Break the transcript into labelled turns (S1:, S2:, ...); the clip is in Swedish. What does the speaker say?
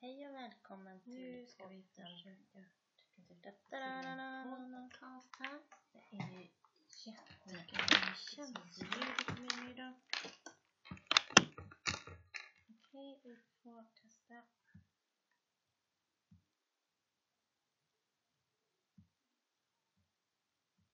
S1: Hej och välkommen till
S2: Nu ska vi försöka.
S1: Podcast här.
S2: Det är ju jättemycket känslor i mitt menu idag.